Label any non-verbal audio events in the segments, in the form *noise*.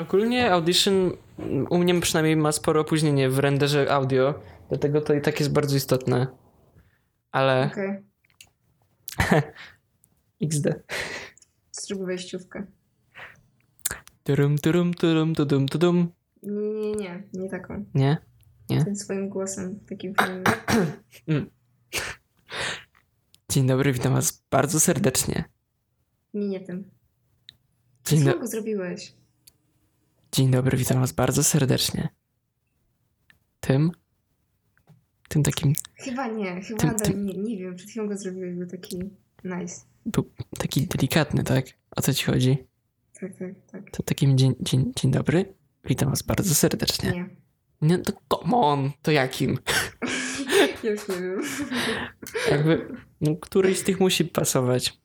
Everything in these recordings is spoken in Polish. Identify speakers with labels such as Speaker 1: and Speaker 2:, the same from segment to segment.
Speaker 1: Ogólnie Audition mm, u mnie przynajmniej ma sporo opóźnienie w renderze audio, dlatego to i tak jest bardzo istotne. Ale
Speaker 2: Okej,
Speaker 1: XD.
Speaker 2: zrób wejściówkę.
Speaker 1: Turum, turum, turum, tudum, tudum.
Speaker 2: Nie, nie, nie, nie taką.
Speaker 1: Nie?
Speaker 2: Tym swoim głosem, takim fajnym.
Speaker 1: Dzień dobry, witam was bardzo serdecznie.
Speaker 2: Nie, nie tym.
Speaker 1: Dzień, do...
Speaker 2: Co go zrobiłeś?
Speaker 1: Dzień dobry, witam was bardzo serdecznie. Tym? Tym takim,
Speaker 2: Chyba nie, chyba
Speaker 1: Ty-
Speaker 2: nadal
Speaker 1: ty-
Speaker 2: nie, nie wiem. Przed chwilą go zrobiłeś, był taki nice.
Speaker 1: taki delikatny, tak? O co ci chodzi?
Speaker 2: Tak, tak, tak.
Speaker 1: To takim dzień, dzień, dzień dobry, witam was bardzo serdecznie.
Speaker 2: Nie,
Speaker 1: Nie, to come on, to jakim?
Speaker 2: już nie wiem.
Speaker 1: Jakby, no, któryś z tych musi pasować.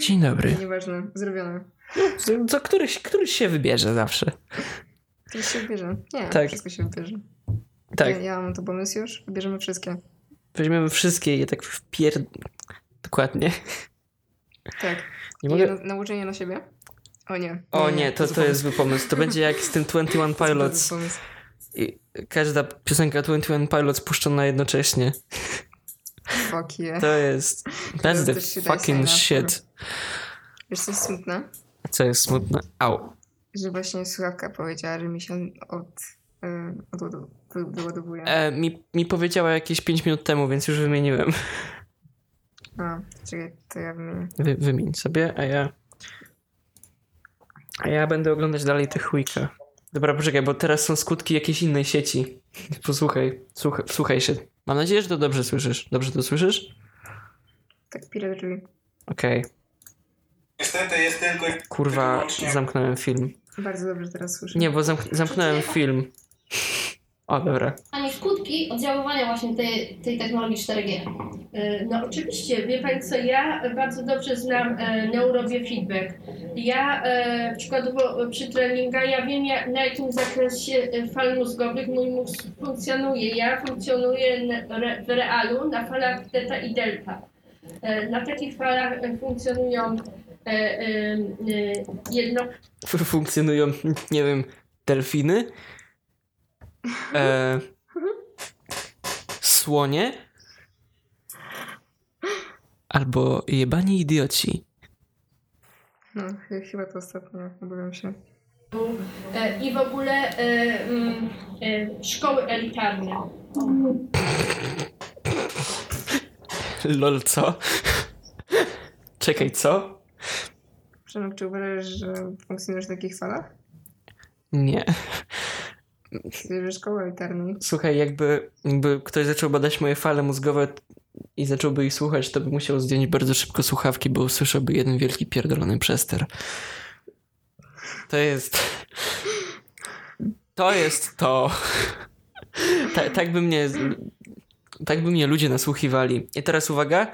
Speaker 1: Dzień dobry.
Speaker 2: Nieważne, zrobione.
Speaker 1: Co- Co któryś, któryś się wybierze zawsze.
Speaker 2: To się wybierze. Nie,
Speaker 1: Tak.
Speaker 2: wszystko się wybierze.
Speaker 1: Tak,
Speaker 2: Ja, ja mam tu pomysł już, wybierzemy wszystkie.
Speaker 1: weźmiemy wszystkie i je tak wpier... Dokładnie.
Speaker 2: Tak.
Speaker 1: Nie
Speaker 2: I
Speaker 1: mogę...
Speaker 2: na, nauczenie na siebie? O nie.
Speaker 1: O nie, to, to
Speaker 2: zły
Speaker 1: jest zły pomysł. To będzie jak z tym *laughs* 21
Speaker 2: pomysł.
Speaker 1: Pilots.
Speaker 2: To jest zły pomysł.
Speaker 1: I każda piosenka 21 Pilots puszczona jednocześnie.
Speaker 2: Fuck yeah.
Speaker 1: To jest... That's
Speaker 2: jest
Speaker 1: the
Speaker 2: coś się daje
Speaker 1: fucking
Speaker 2: sobie na
Speaker 1: shit.
Speaker 2: Wiesz co jest smutne?
Speaker 1: Co jest smutne. Au.
Speaker 2: Że właśnie słuchawka powiedziała, że mi się od... y, od, od, od wyładowuje.
Speaker 1: E, mi, mi powiedziała jakieś 5 minut temu, więc już wymieniłem.
Speaker 2: A, czekaj, to ja wymienię.
Speaker 1: Wy, wymień sobie, a ja. A ja będę oglądać dalej tych Wicca. Dobra, poczekaj, bo teraz są skutki jakiejś innej sieci. Posłuchaj, słuchaj, słuchaj się. Mam nadzieję, że to dobrze słyszysz. Dobrze to słyszysz?
Speaker 2: Tak, pirate drzwi.
Speaker 1: Okej.
Speaker 3: Niestety jest tylko i
Speaker 1: Kurwa,
Speaker 3: Wyłącznie.
Speaker 1: zamknąłem film.
Speaker 2: Bardzo dobrze teraz słyszę.
Speaker 1: Nie, bo zamk- zamknąłem film. O, dobra.
Speaker 4: Panie skutki oddziaływania właśnie tej, tej technologii 4G.
Speaker 5: E, No oczywiście, wie Pan co, ja bardzo dobrze znam e, neurobiofeedback. Ja e, przykładowo e, przy treningach, ja wiem jak, na jakim zakresie e, fal mózgowych mój mózg funkcjonuje. Ja funkcjonuję na- re, w realu na falach theta i delta. E, na takich falach e, funkcjonują e, e, e, jedno,
Speaker 1: F- Funkcjonują, nie wiem, delfiny. E, słonie. Albo jebani idioci.
Speaker 2: No, ch- chyba to ostatnio, obawiam się.
Speaker 5: E, i w ogóle e, mm, e, szkoły elitarne.
Speaker 1: Lol, co? Czekaj, co?
Speaker 2: Przemek, czy uważasz, że funkcjonujesz w takich falach?
Speaker 1: Nie.
Speaker 2: Że szkoły elitarnej.
Speaker 1: Słuchaj, jakby, jakby ktoś zaczął badać moje fale mózgowe i zacząłby ich słuchać, to by musiał zdjąć bardzo szybko słuchawki, bo usłyszałby jeden wielki pierdolony przester. To jest... To jest to. Ta, tak by mnie... Tak by mnie ludzie nasłuchiwali. I teraz uwaga,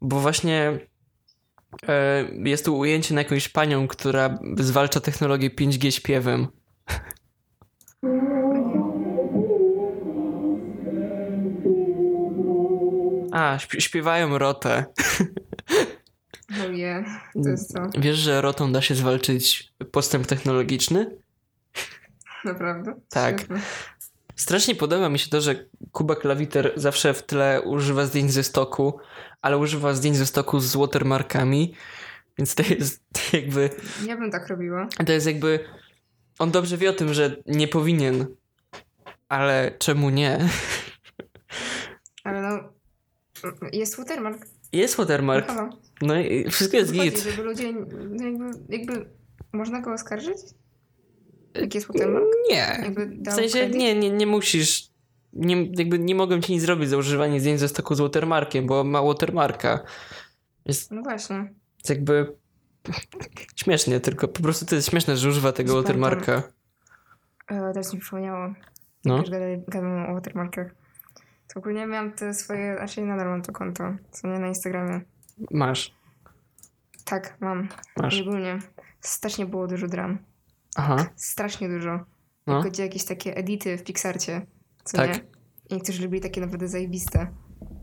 Speaker 1: bo właśnie e, jest tu ujęcie na jakąś panią, która zwalcza technologię 5G śpiewem. A, śp- śpiewają rotę.
Speaker 2: No je, to jest to.
Speaker 1: Wiesz, że rotą da się zwalczyć postęp technologiczny?
Speaker 2: Naprawdę?
Speaker 1: Tak.
Speaker 2: Świetne.
Speaker 1: Strasznie podoba mi się to, że Kuba Klawiter zawsze w tle używa zdjęć ze stoku, ale używa zdjęć ze stoku z watermarkami, więc to jest *laughs* jakby...
Speaker 2: Ja bym tak robiła.
Speaker 1: To jest jakby... On dobrze wie o tym, że nie powinien, ale czemu nie? *laughs*
Speaker 2: Ale no. Jest watermark.
Speaker 1: Jest watermark,
Speaker 2: No, halo.
Speaker 1: no i wszystko jest
Speaker 2: Chodzi,
Speaker 1: git.
Speaker 2: Żeby ludzie. No jakby, jakby. Można go oskarżyć? Jak jest watermark?
Speaker 1: Nie,
Speaker 2: Jakby
Speaker 1: E, W
Speaker 2: dał
Speaker 1: sensie
Speaker 2: kredyt?
Speaker 1: nie, nie, nie musisz. Nie, jakby nie mogę ci nic zrobić za używanie zdjęć ze stoku z watermarkiem, bo ma watermarka. Jest
Speaker 2: No właśnie.
Speaker 1: jakby. Śmiesznie, tylko po prostu to jest śmieszne, że używa tego
Speaker 2: Sprawdzam.
Speaker 1: watermarka.
Speaker 2: E, teraz mi przypomniało.
Speaker 1: No.
Speaker 2: Już gadaj- gadam o watermarkach. To ogólnie miałam te swoje. Znaczy nadal mam to konto. Co nie na Instagramie.
Speaker 1: Masz,
Speaker 2: Tak, mam.
Speaker 1: masz.
Speaker 2: Ogólnie. Strasznie było dużo dram.
Speaker 1: Aha.
Speaker 2: Tak. Strasznie dużo.
Speaker 1: No.
Speaker 2: Chodzi o jakieś takie edity w Pixarcie. Co
Speaker 1: Tak.
Speaker 2: nie? I niektórzy lubili takie naprawdę zajebiste.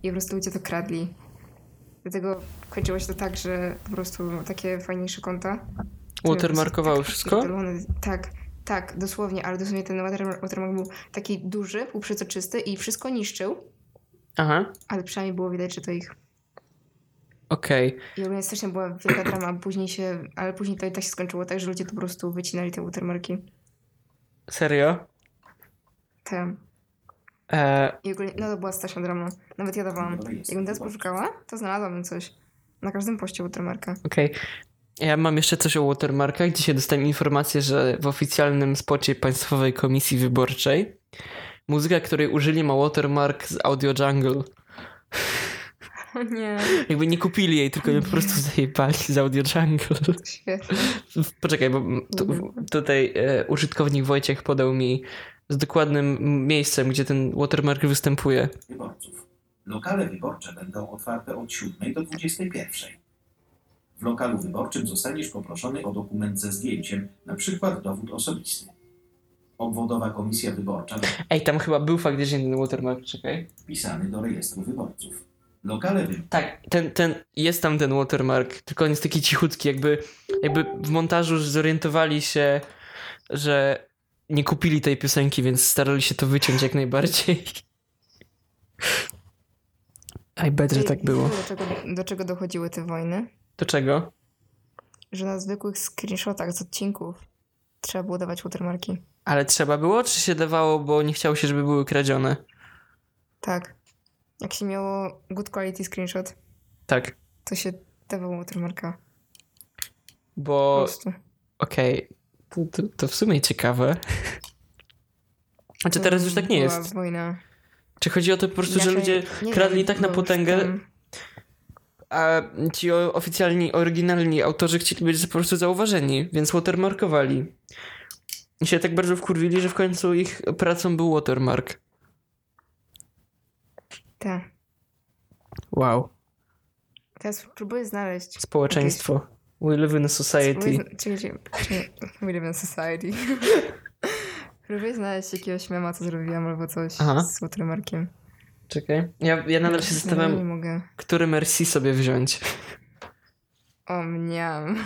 Speaker 2: I po prostu ludzie to kradli. Dlatego kończyło się to tak, że po prostu takie fajniejsze konta
Speaker 1: Watermarkowało wszystko?
Speaker 2: Pierdolony- Tak, tak, dosłownie, ale dosłownie ten watermark, watermark był taki duży, półprzezoczysty i wszystko niszczył,
Speaker 1: Aha,
Speaker 2: ale przynajmniej było widać, że to ich.
Speaker 1: okej.
Speaker 2: I ogólnie strasznie była wielka drama, później się, ale później to i tak się skończyło tak, że ludzie to po prostu wycinali te watermarki.
Speaker 1: Serio?
Speaker 2: Te.
Speaker 1: E,
Speaker 2: I ogólnie, no to była straszna drama. Nawet ja dawałam. Jakbym teraz poszukała, to znalazłabym coś. Na każdym poście watermarka. *laughs*
Speaker 1: okej. Ja mam jeszcze coś o watermarkach. Dzisiaj dostałem informację, że w oficjalnym spocie Państwowej Komisji Wyborczej muzyka, której użyli ma watermark z Audio Jungle.
Speaker 2: O nie,
Speaker 1: Jakby nie kupili jej, tylko ją po prostu zajebali z Audio Jungle.
Speaker 2: świetnie.
Speaker 1: Poczekaj, bo m- tu, w- tutaj e, użytkownik Wojciech podał mi z dokładnym m- miejscem, gdzie ten watermark występuje.
Speaker 6: wyborców. Lokale wyborcze będą otwarte od 7 do 21. W lokalu wyborczym zostaniesz poproszony o dokument ze zdjęciem, na przykład dowód osobisty. Obwodowa komisja wyborcza
Speaker 1: Ej, tam chyba był faktycznie ten watermark, czekaj.
Speaker 6: wpisany do rejestru wyborców. Lokale wyborcze
Speaker 1: Tak, ten, ten, jest tam ten watermark, tylko on jest taki cichutki, jakby, jakby w montażu zorientowali się, że nie kupili tej piosenki, więc starali się to wyciąć jak najbardziej. *laughs* I bet, że tak było.
Speaker 2: Do czego, do czego dochodziły te wojny?
Speaker 1: Do czego?
Speaker 2: Że na zwykłych screenshotach z odcinków trzeba było dawać watermarki.
Speaker 1: Ale trzeba było, czy się dawało, bo nie chciało się, żeby były kradzione?
Speaker 2: Tak. Jak się miało good quality screenshot,
Speaker 1: Tak,
Speaker 2: to się dawało watermarka. Po
Speaker 1: bo...
Speaker 2: prostu.
Speaker 1: Okej, to, to, to w sumie ciekawe. Znaczy teraz już tak nie
Speaker 2: Była
Speaker 1: jest.
Speaker 2: wojna.
Speaker 1: Czy chodzi o to po prostu,
Speaker 2: Ja
Speaker 1: że
Speaker 2: się-
Speaker 1: ludzie
Speaker 2: nie
Speaker 1: kradli
Speaker 2: wiem,
Speaker 1: tak na
Speaker 2: bo już
Speaker 1: potęgę,
Speaker 2: tam-
Speaker 1: a ci o- oficjalni, oryginalni autorzy chcieli być po prostu zauważeni, więc watermarkowali. I się tak bardzo wkurwili, że w końcu ich pracą był watermark.
Speaker 2: Tak.
Speaker 1: Wow.
Speaker 2: Teraz próbuję znaleźć.
Speaker 1: Społeczeństwo. We live in a
Speaker 2: Próbuję
Speaker 1: society.
Speaker 2: zna- Czekaj, czekaj, czekaj. We live in society. *laughs* Próbuję znaleźć jakiegoś mema, co zrobiłam albo coś
Speaker 1: Aha.
Speaker 2: z watermarkiem.
Speaker 1: Czekaj. Ja, ja nadal się
Speaker 2: Nie, Nie
Speaker 1: zastanawiam,
Speaker 2: mogę.
Speaker 1: który Merci sobie wziąć.
Speaker 2: O, mniam.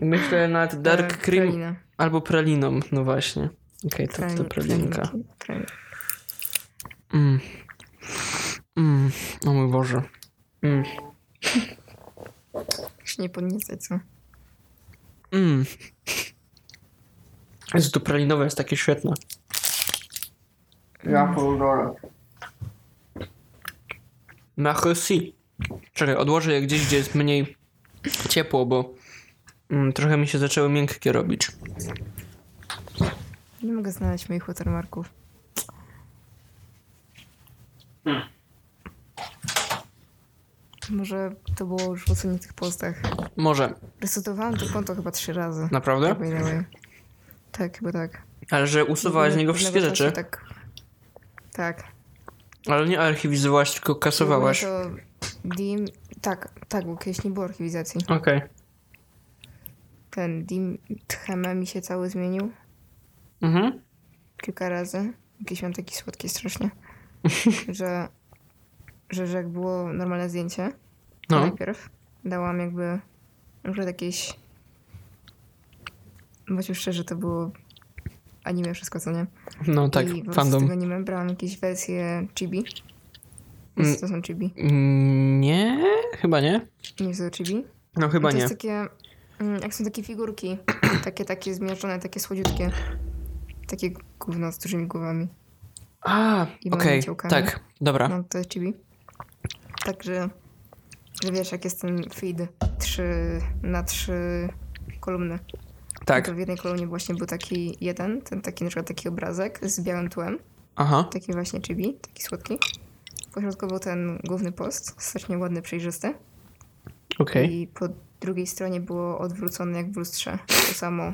Speaker 1: Myślę nad
Speaker 2: E,
Speaker 1: Dark Cream
Speaker 2: pralina.
Speaker 1: Albo praliną, no właśnie. Okej, to, to
Speaker 2: Pralin-
Speaker 1: pralinka.
Speaker 2: pralinki, pralin-
Speaker 1: Mm. Mm. O mój Boże. Mm.
Speaker 2: Się nie podniecaj, co?
Speaker 1: Mm. Jezu, to pralinowe jest takie świetne. Ja pierdolę. Machusi. Czekaj, odłożę je gdzieś, gdzie jest mniej ciepło, bo mm, trochę mi się zaczęły miękkie robić.
Speaker 2: Nie mogę znaleźć moich watermarków. Może to było już w odsuniętych postach.
Speaker 1: Może,
Speaker 2: Resetowałam to konto chyba trzy razy.
Speaker 1: naprawdę?
Speaker 2: By the way. Tak, chyba tak.
Speaker 1: Ale że usuwałaś z niego wszystkie
Speaker 2: Pewnego
Speaker 1: rzeczy,
Speaker 2: czasu Tak. tak. No,
Speaker 1: ale nie archiwizowałaś, tylko kasowałaś.
Speaker 2: W ogóle To DIM, tak, tak, bo kiedyś nie było archiwizacji.
Speaker 1: Okej.
Speaker 2: Ten DIM Tcheme mi się cały zmienił
Speaker 1: Mhm.
Speaker 2: kilka razy. Jakiś miałem taki
Speaker 1: *laughs*
Speaker 2: słodki strasznie, że, że, że jak było normalne zdjęcie, to
Speaker 1: No.
Speaker 2: najpierw dałam jakby na przykład jakieś... Bądźmy szczerzy, to było anime wszystko, co nie?
Speaker 1: No tak,
Speaker 2: I po prostu z
Speaker 1: fandom.
Speaker 2: tego nie brałam jakieś wersje chibi.
Speaker 1: Mm.
Speaker 2: Mm. To są chibi.
Speaker 1: Mm, Nie, chyba nie.
Speaker 2: Nie są chibi.
Speaker 1: No chyba
Speaker 2: to
Speaker 1: nie.
Speaker 2: jest takie, mm, jak są takie
Speaker 1: *clears throat*
Speaker 2: figurki, takie, takie zmieszczone, takie słodziutkie. Takie gówno z dużymi głowami.
Speaker 1: A,
Speaker 2: i
Speaker 1: okej,
Speaker 2: małymi ciałkami.
Speaker 1: tak, dobra.
Speaker 2: No to jest chibi. Także, że wiesz, jak jest ten feed trzy na trzy kolumny.
Speaker 1: Tak,
Speaker 2: To w jednej kolumnie właśnie był taki jeden, ten taki na przykład taki obrazek z białym tłem.
Speaker 1: aha,
Speaker 2: Taki właśnie chibi, taki słodki. Pośrodku był ten główny post, strasznie ładny, przejrzysty.
Speaker 1: okej.
Speaker 2: I po drugiej stronie było odwrócone jak w lustrze. To samo,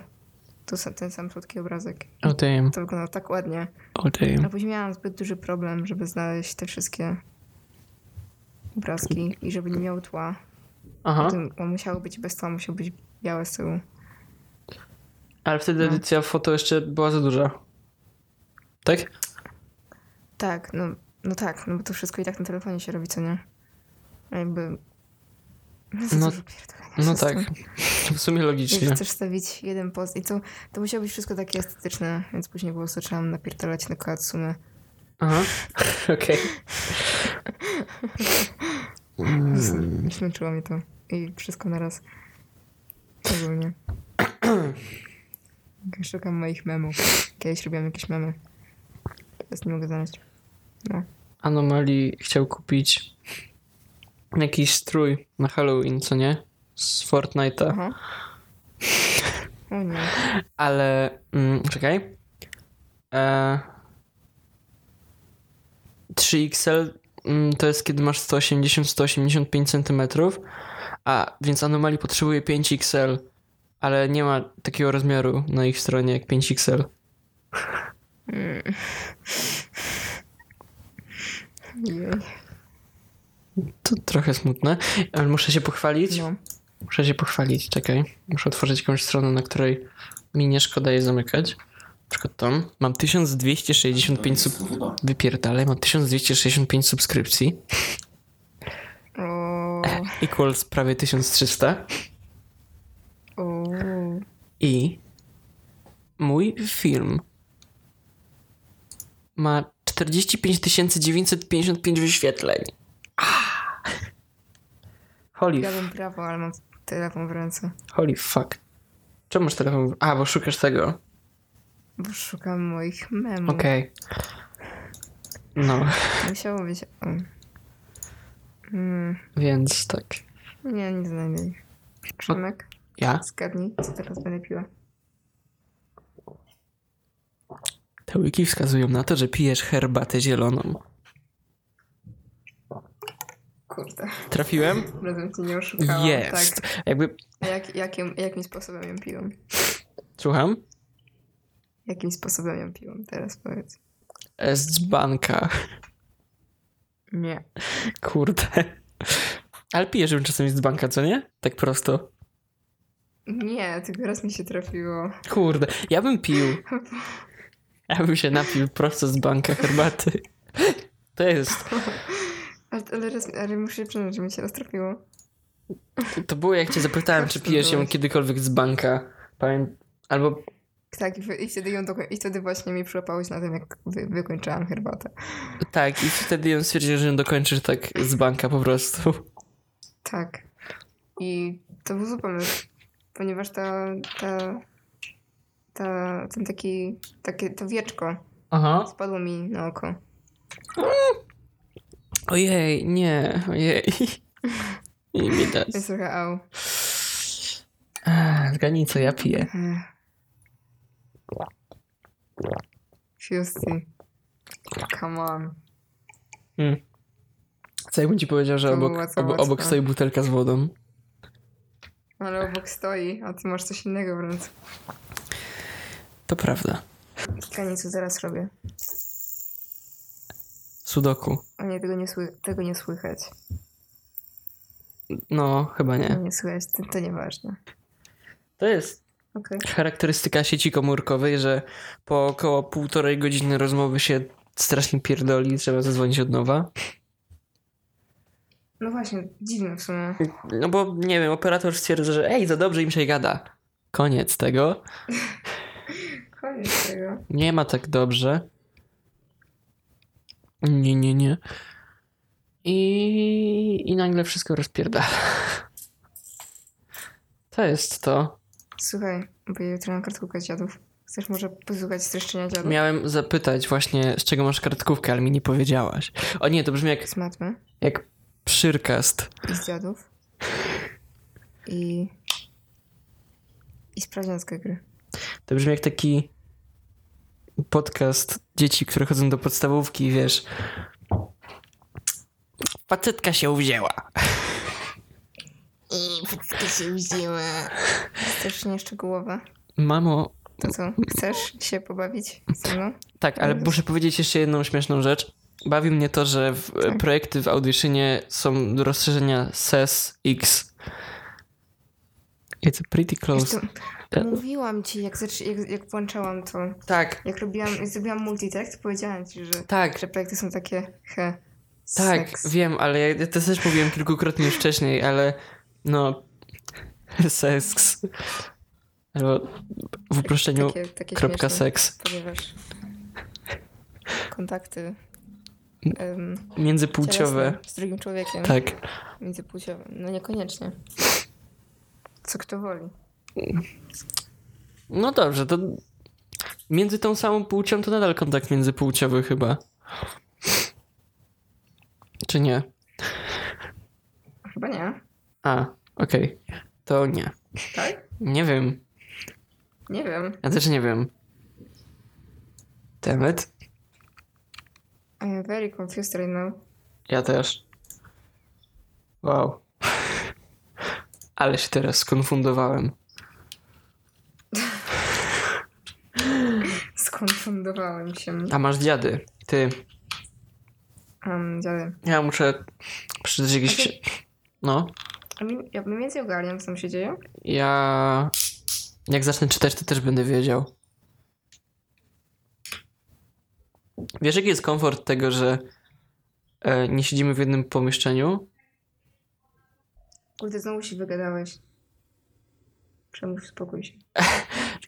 Speaker 2: to, sa- ten sam słodki obrazek.
Speaker 1: O damn,
Speaker 2: To wyglądało tak ładnie.
Speaker 1: o damn.
Speaker 2: A później miałam zbyt duży problem, żeby znaleźć te wszystkie obrazki i żeby nie miały tła.
Speaker 1: Aha,
Speaker 2: To on musiało być bez tła, musiał być białe z tyłu.
Speaker 1: ale wtedy
Speaker 2: no.
Speaker 1: edycja foto jeszcze była za duża. Tak?
Speaker 2: Tak, no, no tak, no bo to wszystko i tak na telefonie się robi, co nie? A Jakby No, co
Speaker 1: No-
Speaker 2: za pierdolenie,
Speaker 1: No
Speaker 2: wszystko.
Speaker 1: tak, *laughs* w sumie
Speaker 2: Jeśli
Speaker 1: logicznie.
Speaker 2: chcesz stawić jeden post i to, to musiało być wszystko takie estetyczne, więc później po prostu trzeba napierdalać na koatsumę.
Speaker 1: Aha, *laughs* okej. Mm,
Speaker 2: Zmęczyło mnie to. I wszystko naraz. Ogólnie. Szukam moich memów. Kiedyś robiłam jakieś memy. Teraz nie mogę znaleźć.
Speaker 1: Anomalii chciał kupić jakiś strój na Halloween, co nie? Z Fortnite'a.
Speaker 2: Aha. O nie.
Speaker 1: Ale mm, czekaj. E, 3XL mm, to jest kiedy masz 180-185 cm, a więc anomalii potrzebuje 5XL, ale nie ma takiego rozmiaru na ich stronie jak 5XL.
Speaker 2: Mm. Jej.
Speaker 1: To trochę smutne, ale muszę się pochwalić.
Speaker 2: No.
Speaker 1: Muszę się pochwalić, czekaj. Muszę otworzyć jakąś stronę, na której mi nie szkoda jej zamykać. Na przykład tam mam 1265 sub...
Speaker 6: To wyboru.
Speaker 1: Wypierdalaj, mam 1265 subskrypcji.
Speaker 2: O,
Speaker 1: Equals prawie 1300.
Speaker 2: o.
Speaker 1: I mój film ma 45 955 wyświetleń. Ah! Holy,
Speaker 2: Ja bym brawo, ale mam telefon w ręce.
Speaker 1: holy fuck. Czemu masz telefon? w- A, bo szukasz tego.
Speaker 2: Bo szukam moich memów.
Speaker 1: Okej. No,
Speaker 2: Musiało być. o. Mm.
Speaker 1: więc tak.
Speaker 2: Nie, nie znajdę ich. Przemek,
Speaker 1: Ja?
Speaker 2: zgadnij, co teraz będę piła.
Speaker 1: Te łyki wskazują na to, że pijesz herbatę zieloną.
Speaker 2: Kurde,
Speaker 1: Trafiłem?
Speaker 2: razem cię nie oszukałam.
Speaker 1: Jest.
Speaker 2: Tak.
Speaker 1: Jakby...
Speaker 2: A jak, jakim, jakim sposobem ją piłam?
Speaker 1: Słucham?
Speaker 2: Jakim sposobem ją piłam? Teraz powiedz.
Speaker 1: E, Z dzbanka. *laughs*
Speaker 2: Nie.
Speaker 1: Kurde. Ale pijesz ją czasem z dzbanka, co nie? Tak prosto.
Speaker 2: Nie, tylko raz mi się trafiło.
Speaker 1: Kurde. Ja bym pił. Ja bym się napił prosto z banka herbaty. To jest...
Speaker 2: Ale, ale, raz, ale muszę przyznać, że mi się raz trafiło.
Speaker 1: To było jak cię zapytałem, czy pijesz ją kiedykolwiek z banka. Pamię... Albo...
Speaker 2: Tak, i, w- i, wtedy, ją dokoń- i wtedy właśnie mi przyłapałeś na tym, jak wy, wykończałam herbatę.
Speaker 1: Tak, i wtedy ją stwierdził, że ją dokończysz tak z banka po prostu.
Speaker 2: Tak. I to był zły pomysł, ponieważ ta, ta, ta, ten taki, takie, to wieczko
Speaker 1: Aha.
Speaker 2: Spadło mi na oko.
Speaker 1: Ojej, nie, ojej. Nie widać.
Speaker 2: Jest trochę au.
Speaker 1: Ech, Zgadnij, co ja piję.
Speaker 2: Ech. Fiusty. Come on.
Speaker 1: Co jakbym ci powiedział, że
Speaker 2: To
Speaker 1: obok,
Speaker 2: była cała
Speaker 1: ob, obok
Speaker 2: cna.
Speaker 1: stoi butelka z wodą?
Speaker 2: Ale obok stoi, a ty masz coś innego w ręce.
Speaker 1: To prawda.
Speaker 2: Kanicu zaraz robię.
Speaker 1: Sudoku.
Speaker 2: O nie, tego nie, sły- tego nie słychać.
Speaker 1: No, chyba
Speaker 2: Tego
Speaker 1: nie.
Speaker 2: nie słychać, to, to nieważne.
Speaker 1: To jest
Speaker 2: Okej.
Speaker 1: charakterystyka sieci komórkowej, że po około półtorej godziny rozmowy się strasznie pierdoli, trzeba zadzwonić od nowa.
Speaker 2: No właśnie, dziwne w sumie.
Speaker 1: No bo, nie wiem, operator stwierdza, że ej, za dobrze im się gada. Koniec tego.
Speaker 2: Koniec tego.
Speaker 1: Nie ma tak dobrze. Nie, nie, nie. I, i nagle wszystko rozpierdala. *laughs* To jest to.
Speaker 2: Słuchaj, bo ja jutro mam kartkówkę dziadów. Chcesz może posłuchać streszczenia dziadów?
Speaker 1: Miałem zapytać właśnie, z czego masz kartkówkę, ale mi nie powiedziałaś. O nie, to brzmi jak,
Speaker 2: Z matmy
Speaker 1: jak przyrkast.
Speaker 2: i z dziadów. I... I z praźniackiej gry.
Speaker 1: To brzmi jak taki podcast dzieci, które chodzą do podstawówki i wiesz... Facetka się uwzięła.
Speaker 2: I wszystko się wzięła. Chcesz nieszczegółowe?
Speaker 1: Mamo,
Speaker 2: To co? Chcesz się pobawić ze mną?
Speaker 1: Tak, ale
Speaker 2: Więc-
Speaker 1: muszę powiedzieć jeszcze jedną śmieszną rzecz. Bawi mnie to, że w,
Speaker 2: Tak.
Speaker 1: projekty w Auditionie są do rozszerzenia SES X. It's pretty close.
Speaker 2: Zresztą, mówiłam ci, jak, zaczy- jak, jak włączałam to,
Speaker 1: Tak,
Speaker 2: jak robiłam, jak zrobiłam multitekst, powiedziałam ci, że,
Speaker 1: tak,
Speaker 2: że projekty są takie he.
Speaker 1: tak,
Speaker 2: seks.
Speaker 1: wiem, ale ja, ja to też mówiłem kilkukrotnie już wcześniej, ale No, seks. Albo w uproszczeniu
Speaker 2: Takie, takie
Speaker 1: kropka
Speaker 2: śmieszne,
Speaker 1: seks.
Speaker 2: ponieważ kontakty em,
Speaker 1: Międzypłciowe.
Speaker 2: cielesne z drugim człowiekiem
Speaker 1: Tak.
Speaker 2: międzypłciowe. No niekoniecznie. Co kto woli.
Speaker 1: No dobrze, to między tą samą płcią to nadal kontakt międzypłciowy chyba. Czy nie?
Speaker 2: Chyba nie.
Speaker 1: A, okej. To nie.
Speaker 2: Tak?
Speaker 1: Nie wiem.
Speaker 2: Nie wiem.
Speaker 1: Ja też nie wiem. Temet?
Speaker 2: I am very confused right now.
Speaker 1: Ja też. Wow. *laughs* Ale się teraz skonfundowałem.
Speaker 2: Skonfundowałem się.
Speaker 1: A masz dziady. Ty.
Speaker 2: Um, dziady.
Speaker 1: Ja muszę przeczytać jakieś...
Speaker 2: Okej.
Speaker 1: ksi- No.
Speaker 2: A mi- Ja bym więcej ogarniam, co tam się dzieje.
Speaker 1: Ja... Jak zacznę czytać, to też będę wiedział. Wiesz, jaki jest komfort tego, że e, nie siedzimy w jednym pomieszczeniu?
Speaker 2: Kurde, znowu się wygadałeś. Przemów, spokój się.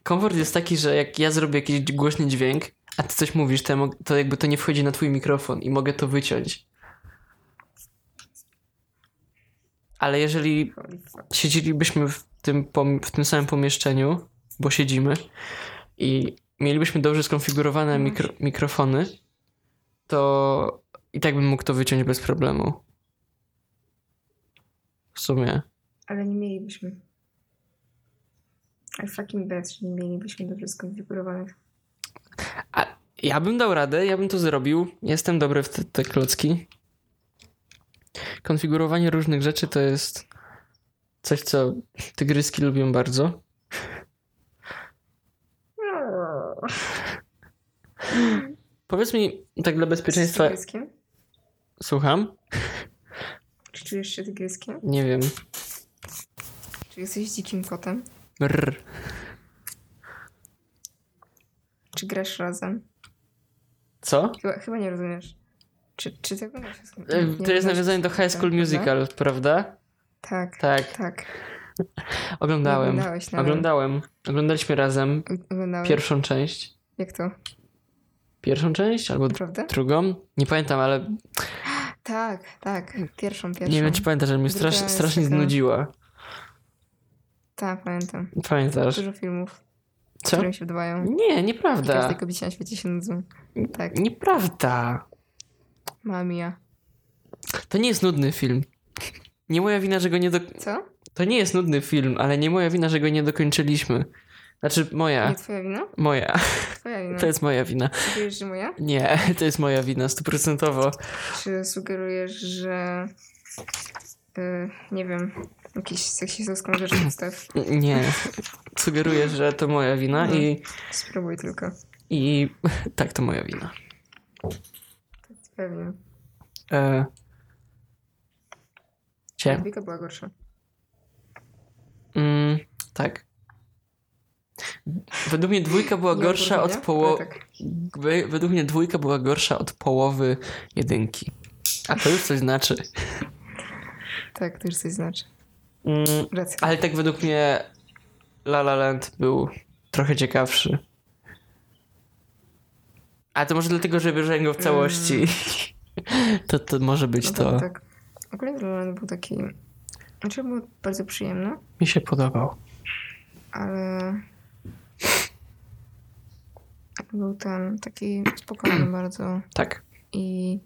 Speaker 1: Komfort jest taki, że jak ja zrobię jakiś głośny dźwięk, a ty coś mówisz, to, ja mog- to jakby to nie wchodzi na twój mikrofon i mogę to wyciąć. Ale jeżeli
Speaker 2: Holy fuck.
Speaker 1: siedzielibyśmy w tym, pom- w tym samym pomieszczeniu, bo siedzimy, i mielibyśmy dobrze skonfigurowane
Speaker 2: No
Speaker 1: mikro- mikrofony, to i tak bym mógł to wyciąć bez problemu. W sumie.
Speaker 2: Ale nie mielibyśmy. I fucking bet, że nie mielibyśmy dobrze skonfigurowanych.
Speaker 1: Ja bym dał radę, ja bym to zrobił. Jestem dobry w te, te klocki. Konfigurowanie różnych rzeczy to jest coś, co tygryski lubią bardzo. Powiedz mi, tak dla bezpieczeństwa.
Speaker 2: Czujesz się tygryskiem?
Speaker 1: Słucham?
Speaker 2: Czy czujesz się tygryskiem?
Speaker 1: Nie wiem.
Speaker 2: Czy jesteś dzikim kotem?
Speaker 1: Brr.
Speaker 2: Czy grasz razem?
Speaker 1: Co?
Speaker 2: Chyba, chyba nie rozumiesz. Czy, czy tego nie się
Speaker 1: E, To jest nawiązanie do High School Musical, prawda?
Speaker 2: Tak,
Speaker 1: Tak,
Speaker 2: tak.
Speaker 1: oglądałem.
Speaker 2: Oglądałeś nawet.
Speaker 1: Oglądałem. Oglądaliśmy razem
Speaker 2: Oglądałeś.
Speaker 1: pierwszą część.
Speaker 2: Jak to?
Speaker 1: Pierwszą część albo dr-
Speaker 2: Naprawdę?
Speaker 1: drugą? Nie pamiętam, ale
Speaker 2: Tak, tak. Pierwszą, pierwszą.
Speaker 1: nie wiem, czy pamiętasz, że mnie
Speaker 2: Druga
Speaker 1: strasz,
Speaker 2: jest
Speaker 1: strasznie
Speaker 2: taka-
Speaker 1: znudziła.
Speaker 2: Tak, pamiętam.
Speaker 1: Pamiętasz?
Speaker 2: Dużo filmów,
Speaker 1: Co?
Speaker 2: które mi się podobają.
Speaker 1: Nie,
Speaker 2: I
Speaker 1: nieprawda.
Speaker 2: każdej kobiecie na świecie się nudzą. Tak,
Speaker 1: Nieprawda.
Speaker 2: mamia.
Speaker 1: To nie jest nudny film. Nie moja wina, że go nie do...
Speaker 2: Co?
Speaker 1: To nie jest nudny film, ale nie moja wina, że go nie dokończyliśmy. Znaczy moja.
Speaker 2: Nie Mm. twoja wina?
Speaker 1: Moja.
Speaker 2: Twoja wina.
Speaker 1: To jest moja wina.
Speaker 2: Sugerujesz, że moja?
Speaker 1: Nie, to jest moja wina, stuprocentowo.
Speaker 2: Czy sugerujesz, że... y, nie wiem, jakiś seksistowską rzecz
Speaker 1: *clears throat*
Speaker 2: postaw?
Speaker 1: Nie. Sugeruję, że to moja wina
Speaker 2: Mm.
Speaker 1: i,
Speaker 2: Spróbuj tylko.
Speaker 1: i *laughs* tak, to moja wina.
Speaker 2: Pewnie.
Speaker 1: E... Cię?
Speaker 2: Dwójka była gorsza.
Speaker 1: Mm, tak. Według mnie dwójka była
Speaker 2: Nie
Speaker 1: gorsza od
Speaker 2: odróżnienia,
Speaker 1: połowy.
Speaker 2: ale Tak.
Speaker 1: Wy- Według mnie dwójka była gorsza od połowy jedynki. A to już coś znaczy.
Speaker 2: tak, to już coś znaczy.
Speaker 1: Mm,
Speaker 2: Racja.
Speaker 1: ale tak według mnie La La Land był trochę ciekawszy. A to może dlatego, że obejrzałem go w całości. *laughs* To, to może być
Speaker 2: Mm. No
Speaker 1: to.
Speaker 2: tak, tak. Ogólnie Roland był taki... Znaczy był bardzo przyjemny,
Speaker 1: Mi się podobał.
Speaker 2: ale... Był ten taki spokojny bardzo
Speaker 1: Tak.
Speaker 2: i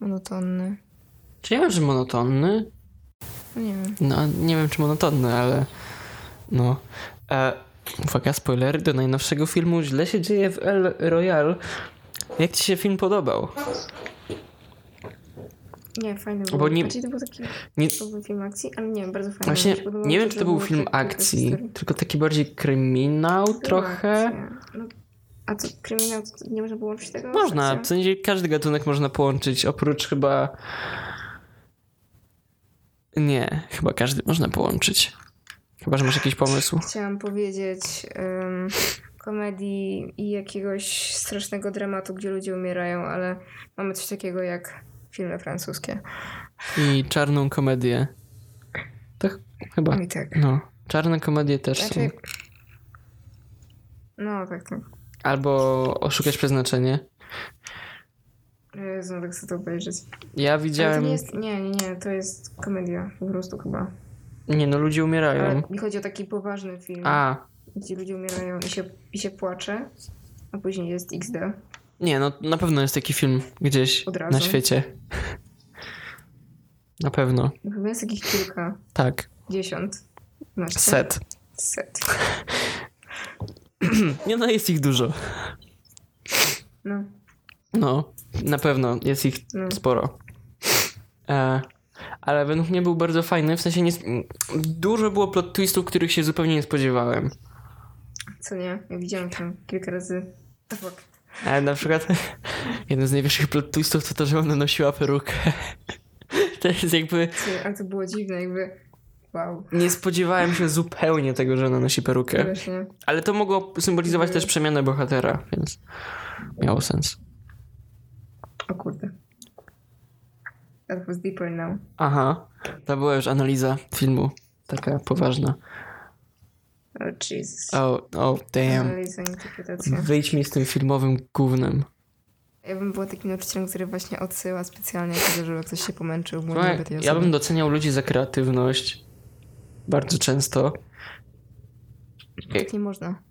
Speaker 2: monotonny.
Speaker 1: Czy ja wiem, że monotonny?
Speaker 2: No nie wiem.
Speaker 1: No, nie wiem, czy monotonny, ale. No. E, uwaga, spoilery do najnowszego filmu Źle się dzieje w El Royal. Jak ci się film podobał?
Speaker 2: Nie, fajny
Speaker 1: Bo
Speaker 2: był.
Speaker 1: nie-
Speaker 2: Nie... Znaczy, to był taki
Speaker 1: Nie,
Speaker 2: to był film akcji, ale nie, bardzo fajny. Mi
Speaker 1: właśnie
Speaker 2: się podobało
Speaker 1: nie wiem,
Speaker 2: to,
Speaker 1: czy to
Speaker 2: że
Speaker 1: był
Speaker 2: było
Speaker 1: film
Speaker 2: tak- taka
Speaker 1: akcji,
Speaker 2: historia.
Speaker 1: tylko taki bardziej kryminał trochę.
Speaker 2: Akcja. No, a co, kryminał, to nie można było łączyć tego? z
Speaker 1: Można,
Speaker 2: akcją?
Speaker 1: w sensie każdy gatunek można połączyć, oprócz chyba. Nie, chyba każdy można połączyć. Chyba, że masz jakiś pomysł.
Speaker 2: Chciałam powiedzieć em, komedii i jakiegoś strasznego dramatu, gdzie ludzie umierają, ale mamy coś takiego jak filmy francuskie.
Speaker 1: I czarną komedię. Tak? Chyba.
Speaker 2: Oj tak.
Speaker 1: No. Czarne komedie też są.
Speaker 2: Raczej... No tak, tak.
Speaker 1: Albo Oszukać Przeznaczenie.
Speaker 2: Jezu, tak chcę to obejrzeć.
Speaker 1: Ja
Speaker 2: Ale to
Speaker 1: widziałem...
Speaker 2: nie, jest, nie, nie, nie, to jest komedia po prostu chyba.
Speaker 1: Nie no, ludzie
Speaker 2: Ale
Speaker 1: umierają.
Speaker 2: mi chodzi o taki poważny film,
Speaker 1: A,
Speaker 2: gdzie ludzie umierają i się, i się płacze, a później jest XD.
Speaker 1: nie no, na pewno jest taki film gdzieś
Speaker 2: Od razu.
Speaker 1: na świecie. *laughs* Na pewno,
Speaker 2: No Chyba jest takich kilka,
Speaker 1: tak.
Speaker 2: dziesiąt, naście.
Speaker 1: Set.
Speaker 2: Set.
Speaker 1: Nie no, jest ich dużo.
Speaker 2: No,
Speaker 1: No, na pewno jest ich
Speaker 2: no.
Speaker 1: sporo. E, ale według mnie był bardzo fajny, w sensie nie, dużo było plot twistów, których się zupełnie nie spodziewałem.
Speaker 2: Co nie? Ja widziałam tam kilka razy. Tak, To fuck.
Speaker 1: Ale na przykład *laughs* jeden z największych plot twistów to to, że ona nosiła perukę. *laughs* To jest jakby...
Speaker 2: Co, ale to było dziwne, jakby. Wow.
Speaker 1: Nie spodziewałem się zupełnie tego, że ona nosi perukę.
Speaker 2: Właśnie.
Speaker 1: Ale to mogło symbolizować też przemianę bohatera, więc miało sens.
Speaker 2: O kurde. That was deeper now.
Speaker 1: Aha, to była już analiza filmu, taka poważna.
Speaker 2: Oh Jesus.
Speaker 1: Oh, oh damn.
Speaker 2: Analiza, interpretacja.
Speaker 1: Wyjdź mi z tym filmowym gównem.
Speaker 2: Ja bym była takim nauczycielem, który właśnie odsyła specjalnie, tego, żeby ktoś się pomęczył. Może
Speaker 1: Słuchaj,
Speaker 2: nawet tej
Speaker 1: Ja
Speaker 2: osoby.
Speaker 1: bym doceniał ludzi za kreatywność. Bardzo często.
Speaker 2: Tak nie
Speaker 1: Mm,
Speaker 2: można.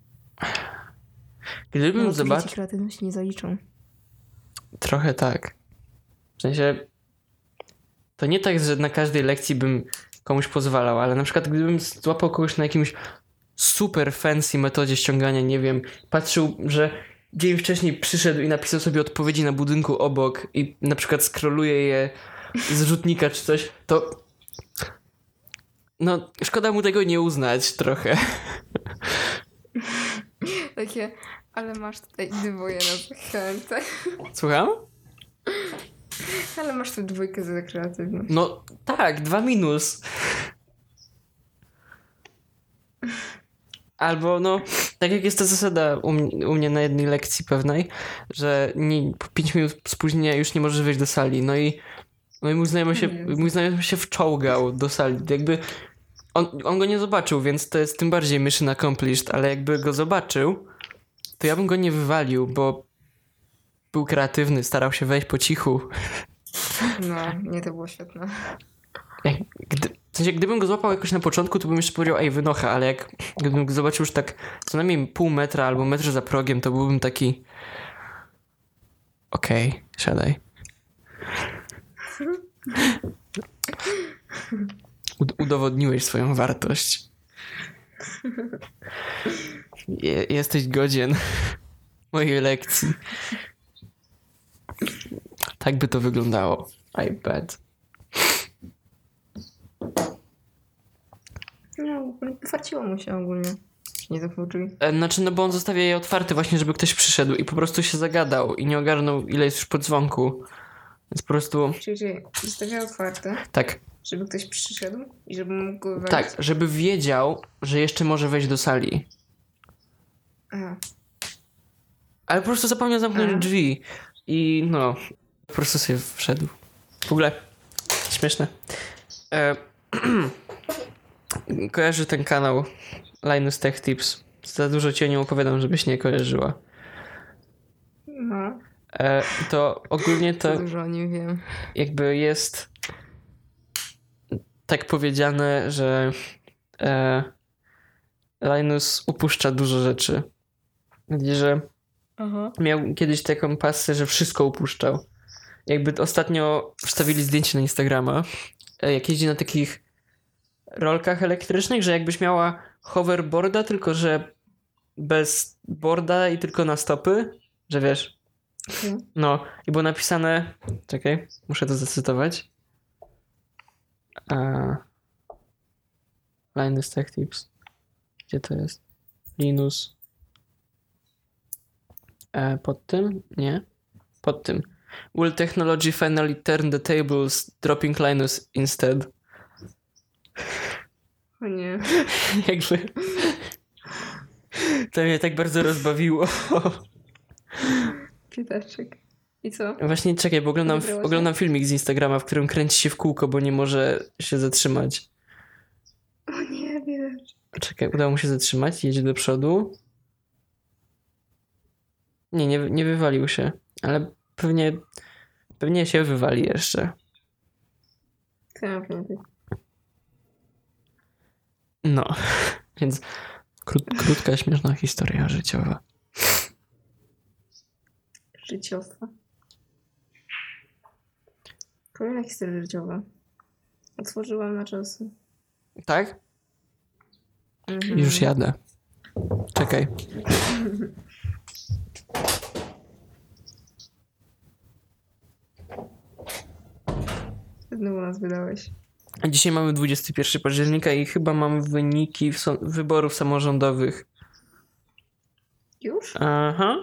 Speaker 1: Gdybym
Speaker 2: No,
Speaker 1: zobaczył...
Speaker 2: Dzieci kreatywności nie zaliczą.
Speaker 1: Trochę tak. W sensie to nie tak, że na każdej lekcji bym komuś pozwalał, ale na przykład gdybym złapał kogoś na jakimś super fancy metodzie ściągania, nie wiem, patrzył, że dzień wcześniej przyszedł i napisał sobie odpowiedzi na budynku obok i na przykład skroluje je z rzutnika czy coś, to no, szkoda mu tego nie uznać trochę. *laughs*
Speaker 2: Takie, ale masz tutaj dwoje na zachętę.
Speaker 1: Słucham?
Speaker 2: Ale masz tu dwójkę za kreatywność.
Speaker 1: No tak, dwa minus. Albo no, tak jak jest ta zasada u, m- u mnie na jednej lekcji pewnej, że nie, po 5 minut spóźnienia już nie możesz wyjść do sali. No i, no i mój, znajomy się,
Speaker 2: Jezu.
Speaker 1: mój znajomy się wczołgał do sali. Jakby on, on go nie zobaczył, więc to jest tym bardziej mission accomplished, ale jakby go zobaczył, to ja bym go nie wywalił, bo był kreatywny, starał się wejść po cichu.
Speaker 2: No, nie, to było świetne.
Speaker 1: Jak- Gdy, w sensie, gdybym go złapał jakoś na początku, to bym jeszcze powiedział, ej, wynocha, ale jak gdybym go zobaczył już tak co najmniej pół metra albo metr za progiem, to byłbym taki. Okej, siadaj. Ud- udowodniłeś swoją wartość. Je- jesteś godzien mojej lekcji. Tak by to wyglądało. I bet.
Speaker 2: No, farciło mu się ogólnie. Nie zapłuczuj.
Speaker 1: E, Znaczy, no bo on zostawia je otwarte właśnie, żeby ktoś przyszedł i po prostu się zagadał i nie ogarnął, ile jest już po dzwonku. Więc po prostu,
Speaker 2: Czyli, czyli zostawia otwarte,
Speaker 1: tak,
Speaker 2: żeby ktoś przyszedł i żeby mógł go wywalić.
Speaker 1: tak, żeby wiedział, że jeszcze może wejść do sali.
Speaker 2: Aha.
Speaker 1: Ale po prostu zapomniał zamknąć
Speaker 2: Mhm.
Speaker 1: drzwi i no, po prostu sobie wszedł. W ogóle, śmieszne. E, *clears throat* kojarzy ten kanał Linus Tech Tips. Za dużo ci o nim opowiadam, żebyś nie kojarzyła.
Speaker 2: No,
Speaker 1: E, to ogólnie
Speaker 2: to
Speaker 1: to...
Speaker 2: dużo o nim wiem.
Speaker 1: jakby jest tak powiedziane, że e, Linus upuszcza dużo rzeczy. Widzisz, że
Speaker 2: Aha.
Speaker 1: miał kiedyś taką pasję, że wszystko upuszczał. Jakby ostatnio wstawili zdjęcie na Instagrama, e, jak jeździ na takich rolkach elektrycznych, że jakbyś miała hoverboarda, tylko że bez boarda i tylko na stopy, że wiesz.
Speaker 2: Okej.
Speaker 1: No, i było napisane, czekaj, muszę to zacytować. A... Linus Tech Tips. Gdzie to jest? Linus. E, pod tym? Nie. Pod tym. Will technology finally turn the tables, dropping Linus instead? *laughs*
Speaker 2: O nie. *laughs*
Speaker 1: Jakby. To mnie tak bardzo rozbawiło.
Speaker 2: Pitaczek. I co?
Speaker 1: Właśnie czekaj, bo oglądam,
Speaker 2: Wybrało się?
Speaker 1: oglądam filmik z Instagrama, w którym kręci się w kółko, bo nie może się zatrzymać. Czekaj, udało mu się zatrzymać, jedzie do przodu. Nie, nie, nie wywalił się, ale pewnie, pewnie się wywali jeszcze.
Speaker 2: Co ja mam powiedzieć?
Speaker 1: No, *laughs* więc krót, krótka, śmieszna historia życiowa.
Speaker 2: Życiowa. Kolejna historia życiowa. Otworzyłam na czas.
Speaker 1: Tak?
Speaker 2: Mhm.
Speaker 1: Już jadę. Czekaj.
Speaker 2: Znowu nas wydałeś.
Speaker 1: A Dzisiaj mamy 21 października i chyba mam wyniki w są- wyborów samorządowych.
Speaker 2: Już?
Speaker 1: Aha.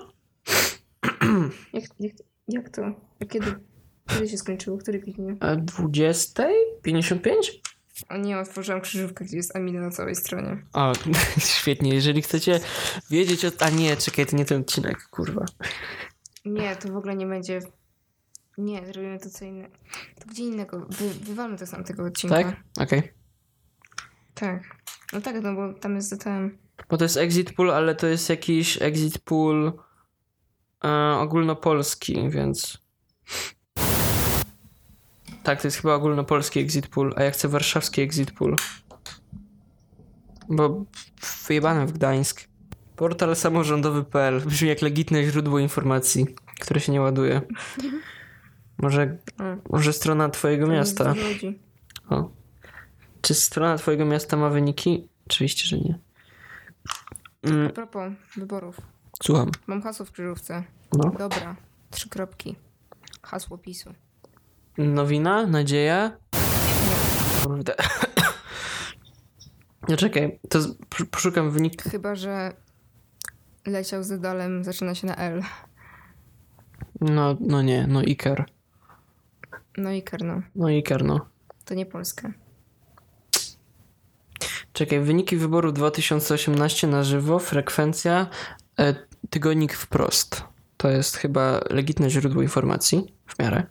Speaker 2: Jak, jak, jak to? A kiedy? Kiedy się skończyło? Który kliknie?
Speaker 1: A 20? 55?
Speaker 2: O nie, otworzyłam krzyżówkę, gdzie jest Amina na całej stronie.
Speaker 1: O, *laughs* świetnie. Jeżeli chcecie wiedzieć o... A nie, czekaj, to nie ten odcinek, kurwa.
Speaker 2: Nie, to w ogóle nie będzie... Nie, zrobimy to co innego. To gdzie innego? Wy, wywalmy to z tamtego odcinka.
Speaker 1: Tak? Okej.
Speaker 2: Tak. No tak, no bo tam jest zatem...
Speaker 1: Bo to jest exit pool, ale to jest jakiś exit pool e, ogólnopolski, więc... Tak, to jest chyba ogólnopolski exit pool, a ja chcę warszawski exit pool. Bo wyjebane w Gdańsk. Portal samorządowy.pl brzmi jak legitne źródło informacji, które się nie ładuje. Może,
Speaker 2: Mm.
Speaker 1: może strona twojego miasta.
Speaker 2: Ludzi.
Speaker 1: O. Czy strona twojego miasta ma wyniki? Oczywiście, że nie.
Speaker 2: A
Speaker 1: Mm,
Speaker 2: propos wyborów.
Speaker 1: słucham.
Speaker 2: Mam hasło w krzyżówce.
Speaker 1: No.
Speaker 2: Dobra. Trzy kropki. Hasło PiSu.
Speaker 1: Nowina? Nadzieja? Kurde. No czekaj, to z- p- poszukam wynik.
Speaker 2: Chyba, że leciał z dalem, zaczyna się na L.
Speaker 1: No, no nie, no Iker.
Speaker 2: No i Kerno.
Speaker 1: No Iker, no.
Speaker 2: To nie Polska.
Speaker 1: Czekaj, wyniki wyboru 2018 na żywo, frekwencja, e, tygodnik wprost. To jest chyba legitne źródło informacji, w miarę.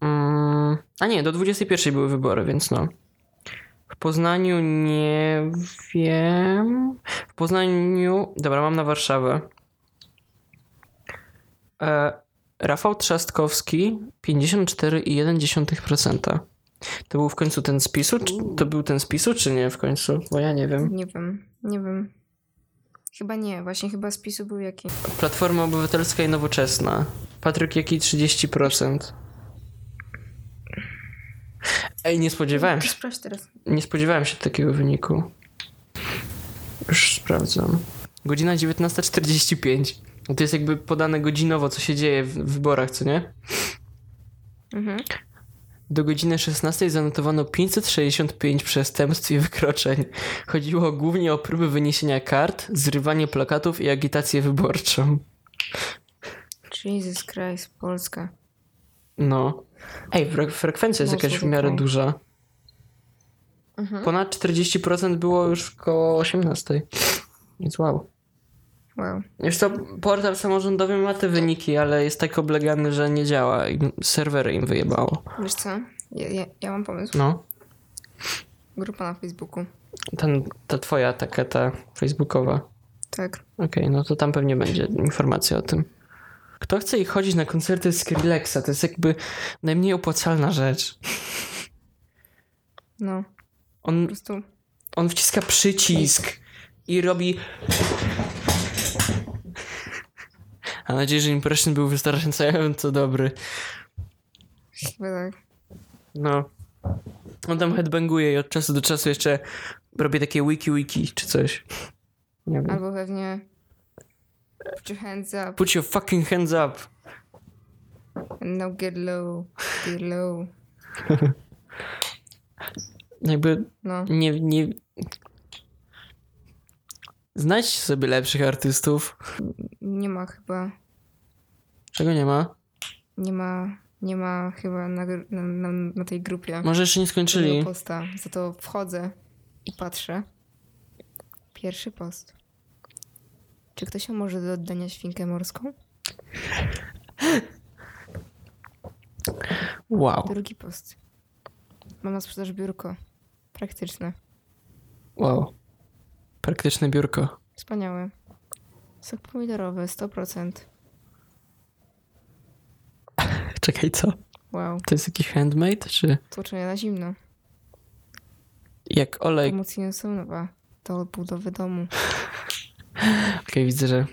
Speaker 1: Mm, a nie, do 21 były wybory, więc no. W Poznaniu nie wiem. W Poznaniu. Dobra, mam na Warszawę. E, Rafał Trzaskowski 54,1%. To był w końcu ten spisu? Czy, to był ten spisu, czy nie w końcu? Bo ja nie wiem.
Speaker 2: Nie wiem, nie wiem. Chyba nie, właśnie chyba z PiSu był jakiś.
Speaker 1: Platforma Obywatelska i Nowoczesna. Patryk Jaki 30%. Ej, nie spodziewałem się,
Speaker 2: Sprawdź teraz.
Speaker 1: nie spodziewałem się takiego wyniku. Już sprawdzam. Godzina 19.45. No To jest jakby podane godzinowo, co się dzieje w w wyborach, co nie?
Speaker 2: Mhm.
Speaker 1: Do godziny 16 zanotowano 565 przestępstw i wykroczeń. Chodziło głównie o próby wyniesienia kart, zrywanie plakatów i agitację wyborczą.
Speaker 2: Jesus Christ, Polska.
Speaker 1: No. Ej, fre- frekwencja jest
Speaker 2: Mocno
Speaker 1: jakaś w miarę
Speaker 2: tutaj.
Speaker 1: duża.
Speaker 2: Mhm.
Speaker 1: Ponad 40% było już koło 18. Więc wow.
Speaker 2: Wow.
Speaker 1: Wiesz to portal samorządowy ma te wyniki, ale jest tak oblegany, że nie działa. I Serwery im wyjebało.
Speaker 2: Wiesz co? Ja, ja, ja mam pomysł.
Speaker 1: No.
Speaker 2: Grupa na Facebooku.
Speaker 1: Ten, ta twoja, taka ta facebookowa.
Speaker 2: Tak.
Speaker 1: Okej, no to tam pewnie będzie informacja o tym. Kto chce i chodzić na koncerty Skrillexa? To jest jakby najmniej opłacalna rzecz.
Speaker 2: No. Po
Speaker 1: On,
Speaker 2: prostu.
Speaker 1: on wciska przycisk i robi... Mam nadzieję, że impression był wystarczająco dobry.
Speaker 2: Chyba tak.
Speaker 1: No. On tam headbanguje i od czasu do czasu jeszcze robi takie wiki wiki czy coś. Nie wiem.
Speaker 2: Albo pewnie. Put your hands up.
Speaker 1: Put your fucking hands up.
Speaker 2: No get low. Get low.
Speaker 1: Jakby
Speaker 2: No.
Speaker 1: Nie, nie. Znajdź sobie lepszych artystów.
Speaker 2: Nie ma chyba.
Speaker 1: Czego nie ma?
Speaker 2: Nie ma. Nie ma chyba na, gr- na, na, na tej grupie.
Speaker 1: Może jeszcze nie skończyli.
Speaker 2: Czyli... posta. Za to wchodzę i patrzę. Pierwszy post. Czy ktoś ma może do oddania świnkę morską?
Speaker 1: Wow,
Speaker 2: Drugi post. Mam na sprzedaż biurko. Praktyczne.
Speaker 1: wow. Praktyczne biurko.
Speaker 2: Wspaniałe. Sok pomidorowy, 100%.
Speaker 1: Czekaj, co?
Speaker 2: Wow.
Speaker 1: To jest jakiś handmade, czy
Speaker 2: Tłoczenie na zimno.
Speaker 1: jak olej? Okej,
Speaker 2: Pomoc insunowa do odbudowy domu.
Speaker 1: widzę, że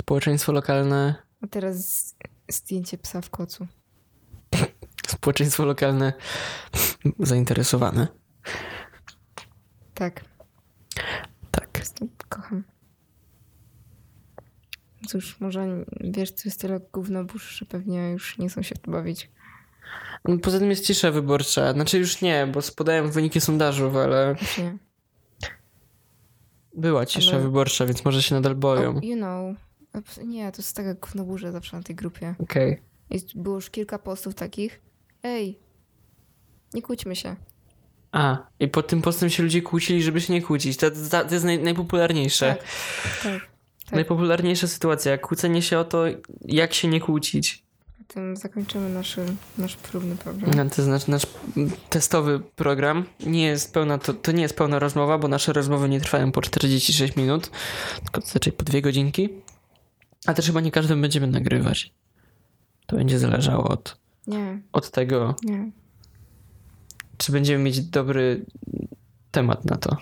Speaker 1: społeczeństwo lokalne,
Speaker 2: A teraz z- zdjęcie psa w kocu.
Speaker 1: społeczeństwo lokalne *laughs* zainteresowane.
Speaker 2: Tak,
Speaker 1: Tak.
Speaker 2: jestem, kocham. Cóż, może wiesz, to jest tyle gówno burz, że pewnie już nie są się tu bawić.
Speaker 1: No, Poza tym jest cisza wyborcza. Znaczy już nie, bo spadają wyniki sondażów, ale
Speaker 2: Już nie.
Speaker 1: była cisza
Speaker 2: Ale-
Speaker 1: wyborcza, więc może się nadal boją.
Speaker 2: O, you know. Abs- Nie, to jest taka gówno burza zawsze na tej grupie.
Speaker 1: Okej.
Speaker 2: Jest, było już kilka postów takich. Ej, nie kłóćmy się.
Speaker 1: A, i pod tym postem się ludzie kłócili, żeby się nie kłócić. To, to, to jest naj, najpopularniejsze.
Speaker 2: Tak, tak. tak.
Speaker 1: Najpopularniejsza sytuacja. Kłócenie się o to, jak się nie kłócić.
Speaker 2: Na tym zakończymy naszy, nasz próbny program.
Speaker 1: No, to znaczy nasz mm, testowy program nie jest pełna, to, to nie jest pełna rozmowa, bo nasze rozmowy nie trwają po 46 minut, tylko zazwyczaj po dwie godzinki. A też chyba nie każdym będziemy nagrywać. To będzie zależało od,
Speaker 2: Nie,
Speaker 1: od tego,
Speaker 2: nie.
Speaker 1: Mm. czy będziemy mieć dobry temat na to.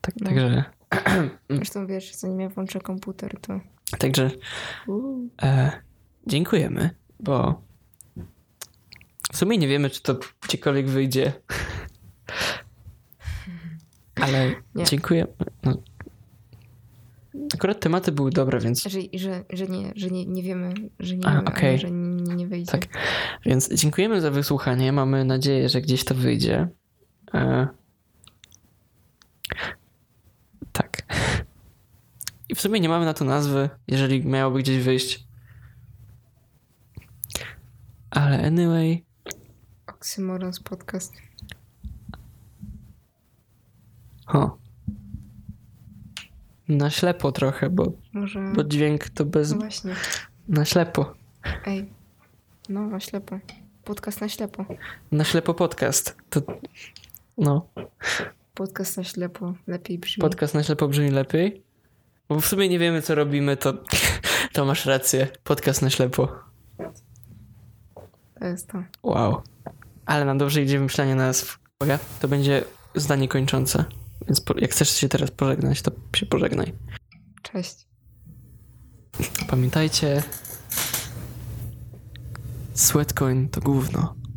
Speaker 1: Tak,
Speaker 2: No.
Speaker 1: Także,
Speaker 2: Zresztą wiesz, zanim ja włączę komputer, to...
Speaker 1: także
Speaker 2: Uuu.
Speaker 1: e, dziękujemy, bo w sumie nie wiemy, czy to gdziekolwiek wyjdzie. Ale
Speaker 2: Nie.
Speaker 1: dziękujemy. No. Akurat tematy były dobre, więc,
Speaker 2: Że, że, że, nie, że nie, nie wiemy, że nie
Speaker 1: A,
Speaker 2: wiemy,
Speaker 1: okej.
Speaker 2: ale że nie, nie wyjdzie.
Speaker 1: Tak. więc dziękujemy za wysłuchanie. Mamy nadzieję, że gdzieś to wyjdzie. E, tak. I w sumie nie mamy na to nazwy, jeżeli miałoby gdzieś wyjść. Ale anyway,
Speaker 2: Oksymorons podcast.
Speaker 1: ho. Na ślepo trochę, bo,
Speaker 2: Może...
Speaker 1: bo dźwięk to bez.
Speaker 2: No właśnie.
Speaker 1: Na ślepo.
Speaker 2: Ej. No, na ślepo. Podcast na ślepo.
Speaker 1: Na ślepo podcast. To, no,
Speaker 2: Podcast na ślepo. Lepiej brzmi.
Speaker 1: podcast na ślepo brzmi lepiej. Bo w sumie nie wiemy, co robimy, to, *laughs* to masz rację. Podcast na ślepo.
Speaker 2: To jest to.
Speaker 1: Wow. Ale nam dobrze idzie wymyślanie nazw. Uwaga, to będzie zdanie kończące. Więc po, jak chcesz się teraz pożegnać, to się pożegnaj.
Speaker 2: Cześć.
Speaker 1: Pamiętajcie, Sweatcoin to gówno.